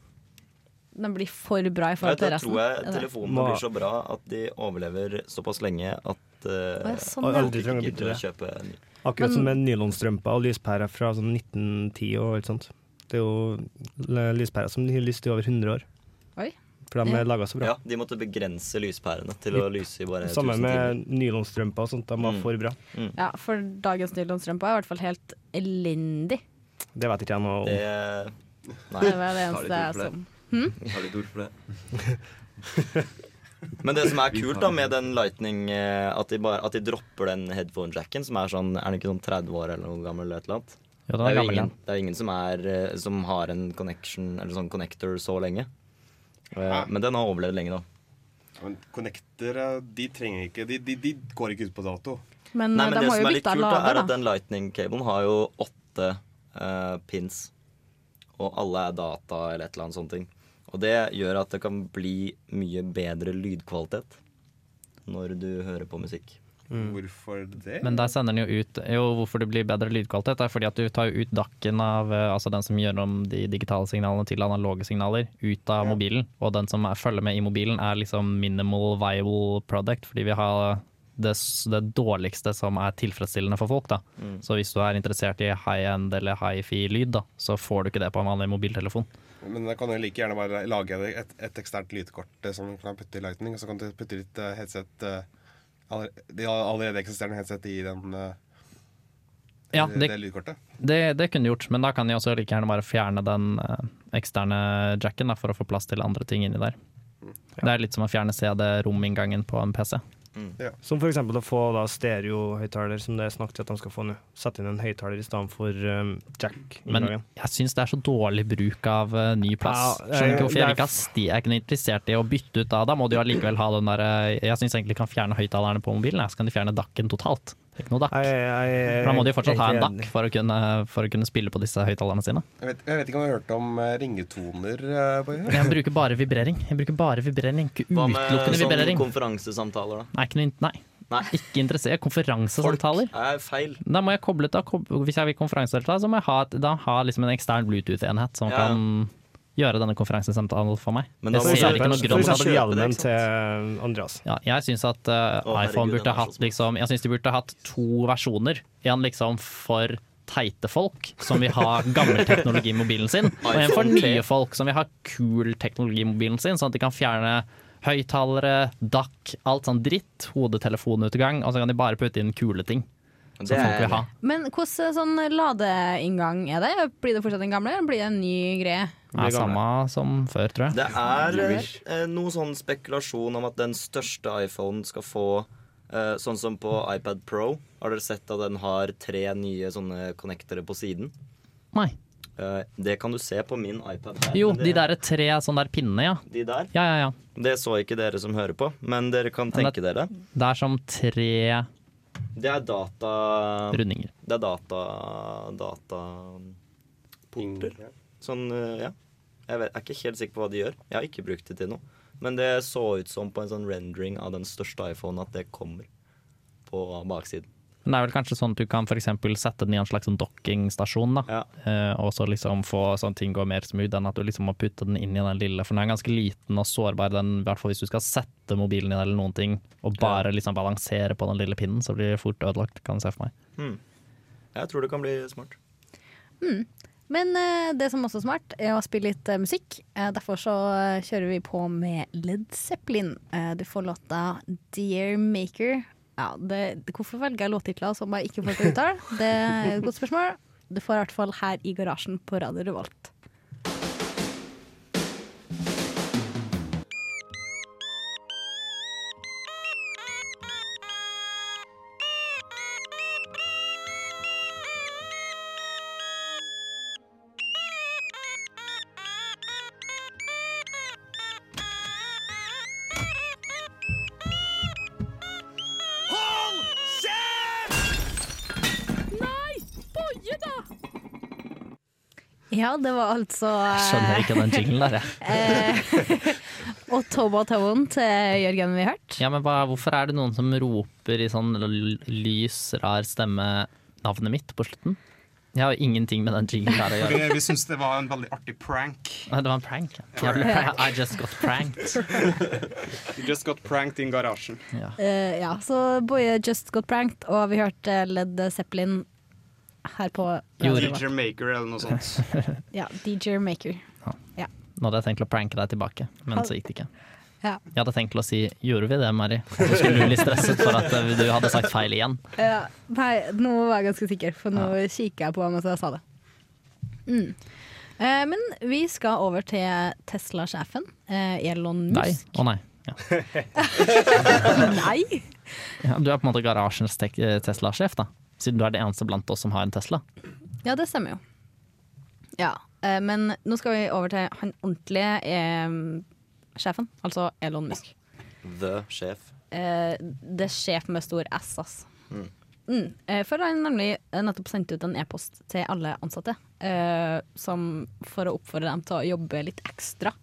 S3: Den blir for bra i
S9: Jeg,
S3: forhold til
S9: da
S3: resten.
S9: tror jeg
S3: Er det?
S9: telefonene
S7: Må-
S9: blir så bra at de overlever såpass lenge at eh,
S3: Å, ja, sånn,
S9: folk
S3: ja.
S7: Aldri trenger å
S9: ikke
S7: bytte
S9: gidder å
S7: det.
S9: kjøpe en ny.
S7: Akkurat
S3: Men-
S7: som med nylonstrømper og lyspærer fra sånn 1910 og alt sånt. Det er jo l- lyspærer som har lyst i over 100 år,
S3: Oi.
S7: for de
S3: Ja.
S7: er laga så bra.
S9: Ja, de måtte begrense lyspærene til å lyse i bare 1000
S7: Samme
S9: timer.
S7: med nylonstrømper og sånt, de var
S9: Mm.
S7: for bra.
S3: Ja, for dagens nylonstrømpe er i hvert fall helt elendig.
S7: Det vet ikke jeg noe om.
S9: Det
S3: Det var
S9: Nei.
S3: det
S5: Har litt
S3: eneste
S5: ord for det.
S3: som
S5: Har litt ord for det.
S9: Men det som er kult da med den Lightning, eh, at de, bare, at de dropper den headphone-jacken, som er sånn, er den ikke sånn 30 år eller noe gammel? Eller et eller annet?
S8: Jo, den
S9: Det
S8: er
S9: er jo
S8: gammel,
S9: ingen,
S8: den.
S9: det er ingen som, er, eh, som har en connection, eller sånn connector så lenge. Eh, Men den har overlevd lenge, da.
S12: Men connector, eh, de trenger ikke De, de, de går ikke ut på dato.
S3: Men,
S9: Nei, men
S3: de
S9: det
S3: må
S9: som
S3: jo
S9: er litt
S3: bytte
S9: kult, da, er
S3: lader,
S9: at
S3: da.
S9: den lightning-kabelen har jo åtte eh, pins. Og alle er data eller et eller annet sånt ting. Og det gjør at det kan bli mye bedre lydkvalitet når du hører på musikk.
S12: Hvorfor det?
S8: Men der sender den jo ut Jo, hvorfor det blir bedre lydkvalitet, er fordi at du tar jo ut dakken av eh, Altså den som gjør om de digitale signalene til analoge signaler, ut av mobilen. Og den som er, følger med i mobilen, er liksom minimal viable product, fordi vi har det, s- det dårligste som er tilfredsstillende for folk. Da.
S9: Mm.
S8: Så hvis du er interessert i high-end eller hifi-lyd, da, så får du ikke det på en vanlig mobiltelefon.
S2: Men jeg kan jo like gjerne bare lage et, et eksternt lydkort eh, som du kan putte i Lightning, og så kan du putte litt eh, headset eh, aller- De allerede eksisterende headset i den eh,
S8: Ja,
S2: det, det lydkortet.
S8: Det, det kunne du gjort, men da kan de også like gjerne bare fjerne den eh, eksterne jacken da, for å få plass til andre ting inni der. Det er litt som å fjerne CD-rominngangen på en PC.
S7: Som f.eks. å få da stereohøyttaler, som det er snakk til at de skal få nå. Sette inn en høyttaler istedenfor um, jack.
S8: Men jeg syns det er så dårlig bruk av eh, ny plass.
S7: Ja,
S8: Skjønner
S7: eh,
S8: ikke hvorfor
S7: det er
S8: jeg ikke har sti. Jeg er ikke noe interessert i å bytte ut da. Da må du jo allikevel ha den der eh, Jeg syns egentlig de kan fjerne høyttalerne på mobilen, jeg, så kan de fjerne dakken totalt. Det er Ikke noe dakk. For da må de jo fortsatt ha en dakk for å kunne, for å kunne spille på disse høyttalerne sine.
S2: Jeg vet, jeg vet ikke om du har hørt om eh, ringetoner? eh, på
S8: Men jeg bruker bare vibrering. Jeg bruker bare vibrering, ikke utelukkende
S9: sånn
S8: vibrering.
S9: konferansesamtaler, da?
S8: Nei, ikke noe, int- nei. Ikke interessert. Konferansesamtaler.
S9: Det er feil.
S8: Da må jeg koble ut, da, kob- hvis jeg vil konferansedelta, så må jeg ha, et, da ha liksom en ekstern Bluetooth-enhet som
S9: Ja.
S8: kan gjøre denne konferansesamtalen for meg.
S7: Men
S8: jeg
S7: da må
S8: ser
S7: du-
S8: ikke noe
S7: for
S8: grunn
S7: eksempel
S8: til å
S7: hjelmen til
S8: Andreas. Ja, jeg syns at eh,
S7: herregud,
S8: iPhone
S7: den er
S8: burde hatt liksom Jeg syns de burde hatt to versjoner. En liksom for teite folk som vil
S9: <laughs>
S8: ha gammel teknologi i mobilen sin, og en for
S9: iPhone 3.
S8: nye folk som vil ha kul teknologi i mobilen sin, sånn at de kan fjerne høyttalere, DAC, alt sånn dritt, hodetelefonutgang, og så kan de bare putte inn kule ting som
S9: Det
S8: folk
S9: er-
S8: vil ha.
S3: Men hvordan sånn ladeinngang er det? Blir det fortsatt den gamle, eller blir det en ny greie?
S8: Det er samme som før, tror jeg.
S9: Det er eh, noe sånn spekulasjon om at den største iPhonen skal få eh, Sånn som på iPad Pro. Har dere sett at den har tre nye sånne connectere på siden?
S8: Nei.
S9: Eh, det kan du se på min iPad. her,
S8: Jo,
S9: men
S8: de
S9: det-
S8: der tre sånne der pinnene, ja.
S9: De der?
S8: Ja, ja, ja.
S9: Det så ikke dere som hører på, men dere kan
S8: Men
S9: tenke dere.
S8: Det er som tre
S9: Det er data...
S8: Rundinger.
S9: Det er data... dataporter. Sånn, eh, ja. Jeg vet, er ikke helt sikker på hva de gjør. Jeg har ikke brukt det til noe. Men det så ut som på en sånn rendering av den største iPhonen at det kommer på baksiden.
S8: Men det er vel kanskje sånn at du kan for eksempel sette den i en slags sånn dockingstasjon, da. Eh, og så liksom få sånn ting går mer smooth enn at du liksom må putte den inn i den lille, for den er ganske liten og sårbar, den, i hvert fall hvis du skal sette mobilen i den eller noen ting, og bare liksom balansere på den lille pinnen, så blir det fort ødelagt, kan jeg se for meg.
S9: Hmm. Jeg tror det kan bli smart.
S3: Mm. Men eh, det som også er smart, er å spille litt eh, musikk. Eh, derfor så eh, kjører vi på med Led Zeppelin. Eh, du får låta 'Dear Maker'. Ja, det, det- hvorfor velger jeg låttitler som jeg ikke får til å uttale? Det er et godt spørsmål. Du får i hvert fall her i garasjen på Radio Revolt.
S11: Hold kjeft! Nei! Boje, da!
S3: Ja, det var altså
S8: Jeg skjønner ikke den jinglen der, jeg.
S3: eh, Og Toba Towen til Jørgen vi har hørt.
S8: Ja, men hva, hvorfor er det noen som roper i sånn l- lys, rar stemme navnet mitt på slutten? Jeg har jo ingenting med den jinglen der å
S6: Vi, <laughs>
S8: gjøre.
S6: vi syntes det var en veldig artig prank.
S8: Nei, Det var en prank. ja. Jeg ble prank. I just got pranked.
S6: You just got pranked in garasjen.
S3: Eh, ja, så Boje just got pranked, og vi hørte Led Zeppelin her på Radio Revolt.
S6: DJ Maker eller noe sånt.
S3: Ja, DJ Maker. Ja.
S8: Nå hadde jeg tenkt å pranke deg tilbake, men så gikk det ikke.
S3: Ja.
S8: Jeg hadde tenkt til å si 'gjorde vi det, Mari?' Så skulle du bli stresset for at eh, du hadde sagt feil igjen.
S3: Ja, eh, nei, nå var jeg ganske sikker, for nå kikker jeg på ham mens jeg sa det. Mm. Eh, men vi skal over til Tesla-sjefen, eh, Elon
S8: Nei. <laughs>
S3: Musk.
S8: Å nei. Ja.
S3: nei.
S8: Ja, du er på en måte garasjens tek- eh, Tesla-sjef, da. Siden du er det eneste blant oss som har en Tesla.
S3: Ja, det stemmer jo. Ja, eh, men nå skal vi over til han ordentlige eh, sjefen, altså Elon Musk.
S9: The sjef.
S3: Eh, det er sjef med stor S, ass.
S9: Mm.
S3: Mm. eh, For han nemlig eh, nettopp sendte ut en e-post til alle ansatte eh, som, for å oppfordre dem til å jobbe litt ekstra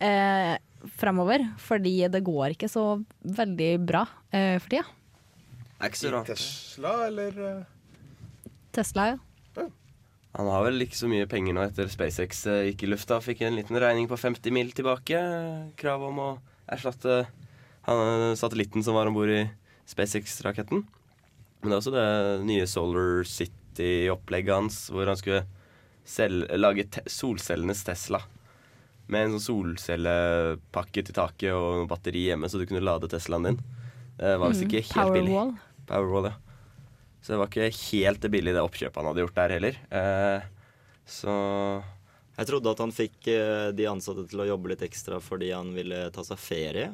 S3: eh, fremover. Fordi det går ikke så veldig bra eh, for tida.
S9: Er ikke så rart.
S2: Tesla, eller eh,
S3: Tesla, ja.
S5: Han har vel ikke så mye penger nå etter SpaceX eh, gikk i lufta. Fikk en liten regning på 50 mil tilbake. Krav om å erstatte han, eh, satellitten som var om bord i SpaceX-raketten. Men det er også det nye Solar City-opplegget hans, hvor han skulle selge, lage te solcellenes Tesla. Med en sånn solcellepakke til taket og noe batteri hjemme, så du kunne lade Teslaen din. Det var visst
S3: Mm,
S5: ikke helt billig.
S3: Powerwall.
S5: Powerwall, ja. Så det var ikke helt det billige det oppkjøpet han hadde gjort der heller. Eh, så
S9: Jeg trodde at han fikk eh, de ansatte til å jobbe litt ekstra fordi han ville ta seg ferie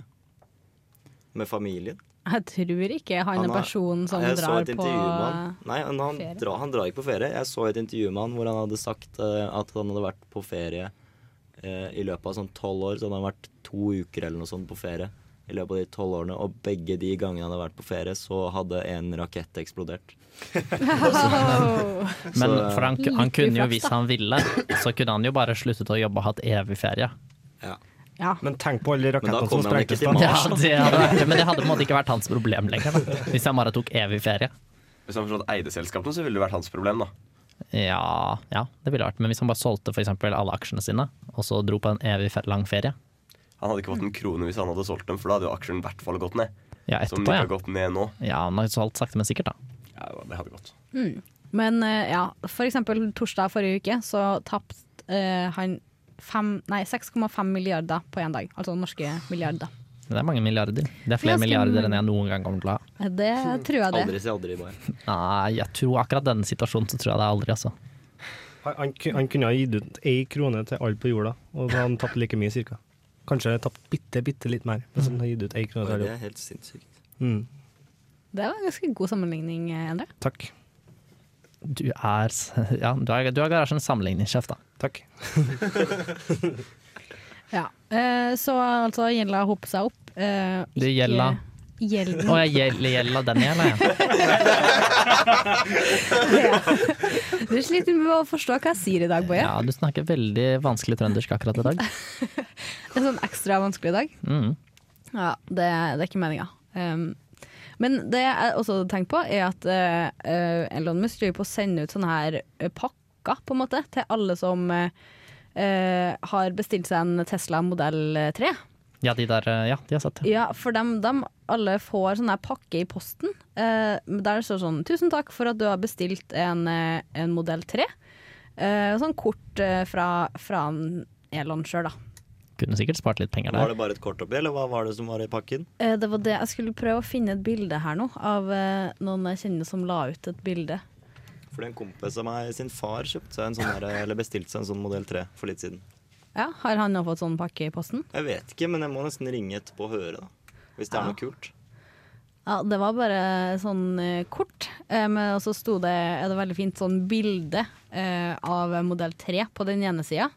S9: med familien.
S3: Jeg tror ikke han, er
S9: har-
S3: personen som
S9: jeg så
S3: drar
S9: et
S3: på
S9: intervju med han. Nei, han, han,
S3: ferie.
S9: drar- han drar ikke på ferie. Jeg så et intervju med han hvor han hadde sagt eh, at han hadde vært på ferie eh, i løpet av sånn tolv år. Så hadde han vært to uker eller noe sånt på ferie i løpet av de tolv årene. Og begge de gangene han hadde vært på ferie, så hadde en rakett eksplodert.
S8: Men
S9: Så,
S8: for han,
S3: Lite
S8: han kunne jo,
S3: uflaks,
S8: hvis
S3: da.
S8: han ville, så kunne han jo bare sluttet å jobbe og hatt evig ferie.
S3: Ja.
S7: Men tenk på alle
S9: Men
S7: rakettene
S9: da
S7: som
S9: kommer han ikke
S7: sprengtes, da.
S9: til
S8: Ja, det hadde vært, det, men det hadde på en måte ikke vært hans problem lenger, da. hvis han bare tok evig ferie.
S5: hvis han forstått eide selskapene, så ville det vært hans problem, da.
S8: Ja, ja, det ville vært. Men hvis han bare solgte for eksempel alle aksjene sine, og så dro på en evig fe- lang ferie
S5: Han hadde ikke fått en krone hvis han hadde solgt dem, for da hadde jo aksjen i hvert fall gått ned.
S8: Ja,
S5: Som den
S8: etterpå,
S5: ikke
S8: ja.
S5: har gått ned nå.
S8: Ja, han har solgt sakte, men sikkert, da.
S5: Ja, det hadde gått.
S3: Mm. Men eh, ja, for eksempel torsdag forrige uke så tapte eh, han fem- nei, 6,5 milliarder på én dag. Altså norske milliarder.
S8: Det er mange milliarder. Det er flere
S3: Ganske
S8: milliarder
S3: mange.
S8: enn jeg noen gang kommer til å ha.
S3: Det tror jeg det.
S9: Aldri si aldri, bare.
S8: Nei, jeg tror akkurat denne situasjonen så tror jeg det er aldri, altså.
S7: Han, han ku- han kunne ha gitt ut ei krone til alle på jorda, og da hadde han tapt like mye, cirka. Kanskje tapt bitte, bitte litt mer, hvis han hadde gitt ut ei krone til
S9: Oi,
S7: alle.
S9: det er helt sinnssykt.
S7: Mm,
S3: Det var en ganske god sammenligning, eh, Endre.
S7: takk.
S8: Du er s- <laughs> Ja, du er, du er garasjen sammenligningssjef, da.
S7: Takk.
S3: Ja. Eh, så altså gjelda hoper seg opp. Eh,
S8: Du gjelda
S3: Gjelden.
S8: Å, jeg gjelder gjelda den gjelda, jeg.
S3: Du sliter med å forstå hva jeg sier i dag, Boje.
S8: Ja, du snakker veldig vanskelig trøndersk akkurat i dag.
S3: Det er sånn ekstra vanskelig i dag.
S8: Mm.
S3: Ja, det, det er ikke meninga. Um, men det jeg også hadde tenkt på, er at eh, eh, Elon Musk driver på å sende ut sånne her eh, pakker, på en måte, til alle som eh, eh, har bestilt seg en Tesla modell 3.
S8: Ja, de der eh, Ja, de har sett det.
S3: Ja, for dem, dem alle får sånn her pakke i posten. eh, der det står sånn 'Tusen takk for at du har bestilt en, eh, en modell 3'. Eh, sånn kort eh, fra, fra en Elon sjøl, da.
S8: Kunne sikkert spart litt penger
S9: Var
S8: der.
S9: det bare et kort oppi, eller hva var det som var i pakken?
S3: Eh, Det var det jeg skulle prøve å finne et bilde her nå, av eh, noen jeg kjenner som la ut et bilde.
S9: Fordi en kompis av meg, sin far, kjøpte seg en sånn der, eller bestilte seg en sånn modell 3 for litt siden.
S3: Ja, Har han nå fått sånn pakke i posten?
S9: Jeg vet ikke, men jeg må nesten ringe etterpå og høre, da. Hvis det er noe kult.
S3: Ja, Det var bare sånn eh, kort, eh, men så sto det et veldig fint sånn bilde eh, av modell 3 på den ene sida.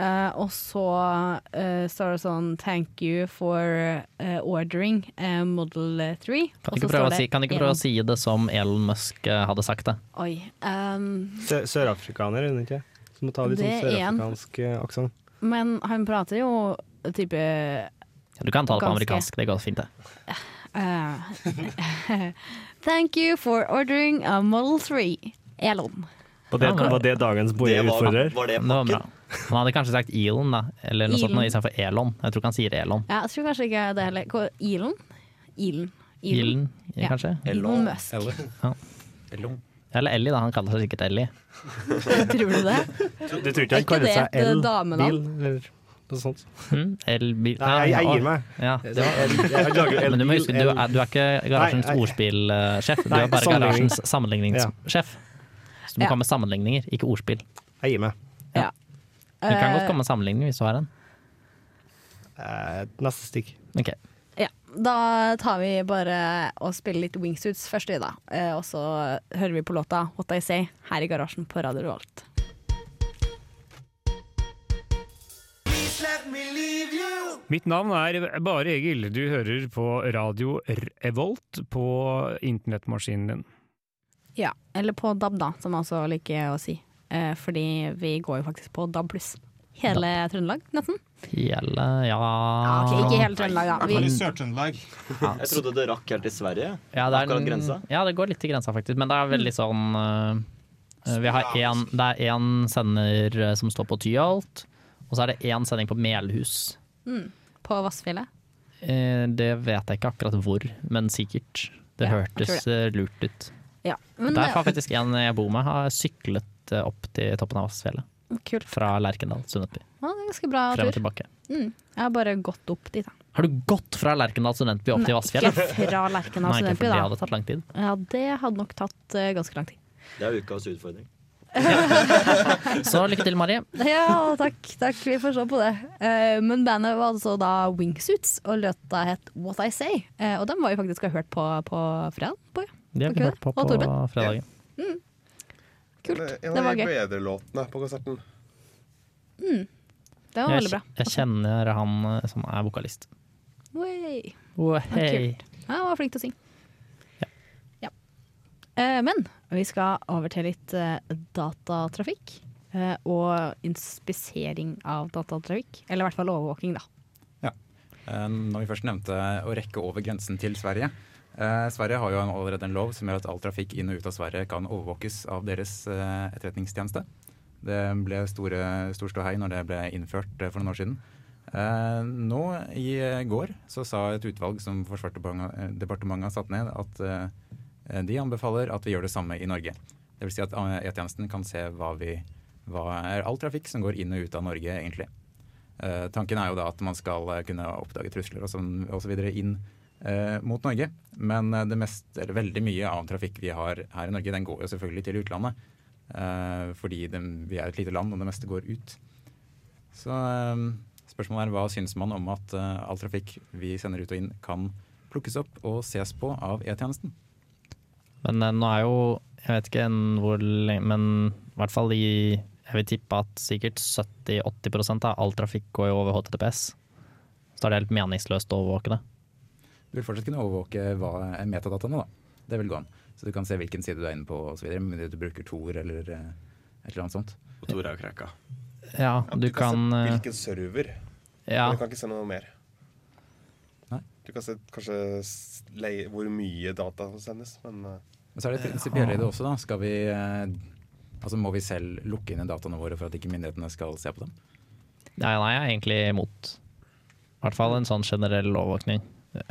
S3: Eh, og så eh, står det sånn 'thank you for eh, ordering eh, model 3'.
S8: Kan du ikke prøve, å si, kan du ikke prøve å si det som Elon Musk eh, hadde sagt det?
S3: Oi. ehm,
S7: Sø- Sørafrikaner, er hun ikke? Så må ta litt sånn
S3: Det er en.
S7: sørafrikansk eh, aksent.
S3: men han prater jo type
S8: Ja, Du kan ta det på
S3: Ganske.
S8: amerikansk, det går fint, det.
S3: Uh, Eh, <laughs> thank you for ordering a Model 3, Elon.
S7: Var det,
S8: Ja, men-
S7: var det dagens
S9: Det var-
S7: Boje-utfordrer?
S9: Var det
S8: Det var bra. Han hadde kanskje sagt Elon, da, eller noe sånt,
S3: Elon.
S8: noe istedenfor Elon. Jeg tror ikke han sier Elon.
S3: Ja, jeg tror kanskje ikke det heller. Hva- Elon? Elon.
S8: Elon,
S3: Ja.
S8: kanskje?
S3: Elon Musk.
S8: Ja. Eller Ellie, da. Han kaller seg sikkert Ellie.
S3: <laughs> Tror du det?
S7: Du tror ikke
S3: Er
S7: han
S3: ikke
S7: kaller
S3: det
S7: seg
S3: et, eh,
S7: L?
S3: damenavn?
S7: Bil, eller noe sånt?
S3: Mm.
S8: Hm? Elbil
S7: Nei, jeg- jeg gir meg.
S8: Ja, det var.
S7: Jeg- jeg lager
S8: Men du må
S7: elbil,
S8: huske, du er, du er ikke garasjens
S7: Nei, jeg-
S8: ordspillsjef, du
S7: Nei,
S8: er bare
S7: sammenligning.
S8: garasjens sammenligningssjef. Så du må
S3: Ja.
S8: komme med sammenligninger, ikke ordspill.
S7: Jeg gir meg.
S3: Ja.
S8: Du kan
S3: Eh,
S8: godt komme med sammenligning hvis du har en.
S7: Eh, Neste stikk.
S8: Ok.
S3: Eh, ja. Da tar vi bare og spiller litt Wingsuits først, vi da. Eh, Og så hører vi på låta What I Say her i garasjen på Radio Revolt.
S13: Mitt navn er Bare Egil. Du hører på radio Revolt på internettmaskinen din.
S3: Ja, eller på DAB, da, som jeg også liker å si. Eh, Fordi vi går jo faktisk på DAB pluss. Hele Trøndelag, nesten.
S8: Hele ja Ah.
S3: Ja, ok, ikke hele Trøndelag, da. Vi-
S6: Sør-Trøndelag.
S9: Jeg trodde det rakk helt til Sverige.
S8: Ja, det er,
S9: Akkurat grensa.
S8: Ja, det går litt til grensa, faktisk. Men det
S3: Mm.
S8: er veldig sånn øh, vi har en, Det er én sender øh, som står på Tyholt, og så er det én sending på Melhus.
S3: Mm. På Vassfjellet.
S8: Eh, Det vet jeg ikke akkurat hvor, men sikkert.
S3: Ja,
S8: Det
S3: jeg
S8: hørtes eh, lurt ut.
S3: Ja, men eh,
S8: Der har faktisk en jeg bor med, har syklet eh, opp til toppen av Vassfjellet.
S3: Kult.
S8: Fra Lerkendal, Sundetby.
S3: Ja, det er ganske bra
S8: Frem og
S3: tur.
S8: tilbake.
S3: Mm. Jeg har bare gått opp dit. da.
S8: Har du gått fra Lerkendal studentby opp
S3: Nei,
S8: til Vassfjellet?
S3: Ikke fra Lerkendal
S8: Nei,
S3: studentby,
S8: ikke, for det
S3: da.
S8: hadde tatt lang tid.
S3: Ja, det hadde nok tatt eh, ganske lang tid.
S9: Det er ukas utfordring.
S8: Så lykke til,
S3: <laughs>
S8: Marie.
S3: <laughs> Ja, takk. takk, Vi får se på det. Eh, men bandet var altså da Wingsuits, og låta het What I Say. Eh, og den var vi faktisk og hørt på på fredag. På, ja.
S8: Det har vi hørt på
S3: Og
S8: på
S3: Torben.
S8: fredagen.
S3: Mm. Kult.
S2: En
S3: Det
S2: av
S3: var
S2: de
S3: gøy.
S2: bedre låtene på konserten.
S3: Mm. Det var veldig
S8: Jeg,
S3: bra.
S8: jeg kjenner han eh, som er vokalist.
S3: Way.
S8: Wow,
S3: Ja,
S8: hei.
S3: Kult. Ja, Han var flink til å synge. Ja. Eh, men vi skal over til litt eh, datatrafikk. eh, og inspisering av datatrafikk. Eller i hvert fall overvåking, da.
S14: Eh, Når vi først nevnte å rekke over grensen til Sverige. Eh, Sverige har jo en- allerede en lov som gjør at all trafikk inn og ut av Sverige kan overvåkes av deres eh, etterretningstjeneste. Det ble store, stor ståhei når det ble innført eh, for noen år siden. Eh, nå i eh, går så sa et utvalg som Forsvarsdepartementet eh, departementet har satt ned, at eh, de anbefaler at vi gjør det samme i Norge. Dvs. Si at eh, E-tjenesten kan se hva, vi, hva er all trafikk som går inn og ut av Norge, egentlig. Eh, tanken er jo da at man skal eh, kunne oppdage trusler og sånn- og så videre inn eh, mot Norge. Men eh, det mest, eller veldig mye av trafikk vi har her i Norge, den går jo selvfølgelig til utlandet. eh, fordi den, vi er et lite land, og det meste går ut. Så eh, spørsmålet er hva syns man om at eh, all trafikk vi sender ut og inn, kan plukkes opp og ses på av E-tjenesten?
S8: Men eh, nå er jo Jeg vet ikke en hvor lenge Men i hvert fall i Jeg vil tippe at sikkert 70-80 av all trafikk går jo over HTTPS. Så da er det helt meningsløst å overvåke det.
S14: Du vil fortsatt kunne overvåke hva er metadataene, da. Det vil gå an. Så du kan se hvilken side du er inne på osv. Med mindre du bruker Tor eller eh, et eller annet sånt.
S5: Og Tor er jo krakka.
S8: Ja, du kan
S2: se
S8: eh,
S2: hvilken server.
S8: Ja.
S2: Men du kan ikke se noe mer.
S14: Nei.
S2: Du kan se kanskje s- lei- hvor mye data som sendes, men eh,
S14: Men så er det prinsipielle i det også, da. Skal vi eh, Altså må vi selv lukke inn i dataene våre for at ikke myndighetene skal se på dem?
S8: Nei, nei, jeg er egentlig imot. I hvert fall en sånn generell overvåkning.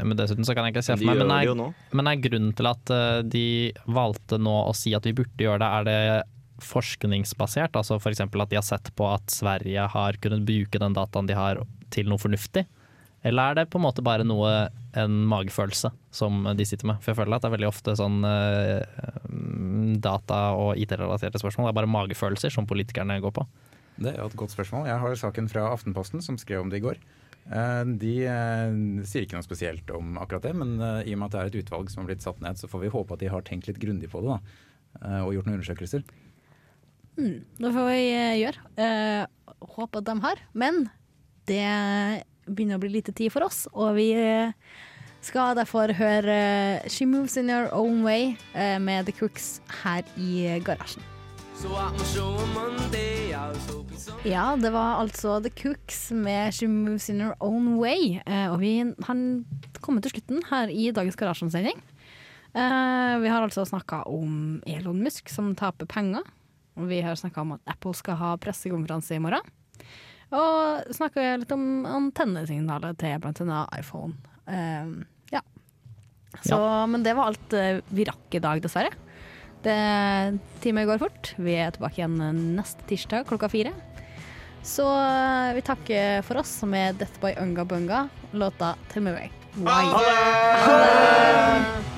S8: Men dessuten så kan jeg ikke se
S9: Men de
S8: for meg Men
S9: gjør det jo
S8: er,
S9: nå.
S8: men er grunnen til at eh, de valgte nå å si at vi burde gjøre det, er det forskningsbasert? Altså f.eks. at de har sett på at Sverige har kunnet bruke den dataen de har til noe fornuftig? Eller er det på en måte bare noe en magefølelse som de sitter med? For jeg føler at det er veldig ofte sånn eh, mm, data- og IT-relaterte spørsmål. Det er bare magefølelser som politikerne går på.
S14: Det er jo et godt spørsmål. Jeg har saken fra Aftenposten som skrev om det i går. Eh, De eh, sier ikke noe spesielt om akkurat det, men eh, i og med at det er et utvalg som har blitt satt ned, så får vi håpe at de har tenkt litt grundig på det da, eh, og gjort noen undersøkelser.
S3: Mm, det får vi eh, gjøre. Eh, håper at de har. Men det begynner å bli lite tid for oss, og vi eh, skal derfor høre eh, She Moves In Your Own Way eh, med The Crooks her i garasjen. Ja, det var altså The Cooks med She Moves In Her Own Way. Eh, og vi har kommet til slutten her i dagens Garasjen-sending. Eh, vi har altså snakka om Elon Musk som taper penger. Og vi har snakka om at Apple skal ha pressekonferanse i morgen. Og snakka litt om antennesignalet til bl.a. iPhone. Eh, ja. Så, Men det var alt eh, vi rakk i dag, dessverre. Det Time går fort. Vi er tilbake igjen neste tirsdag klokka fire. Så eh, vi takker for oss med Death by Unga Bunga, låta Tell Me Why.
S11: Ha det!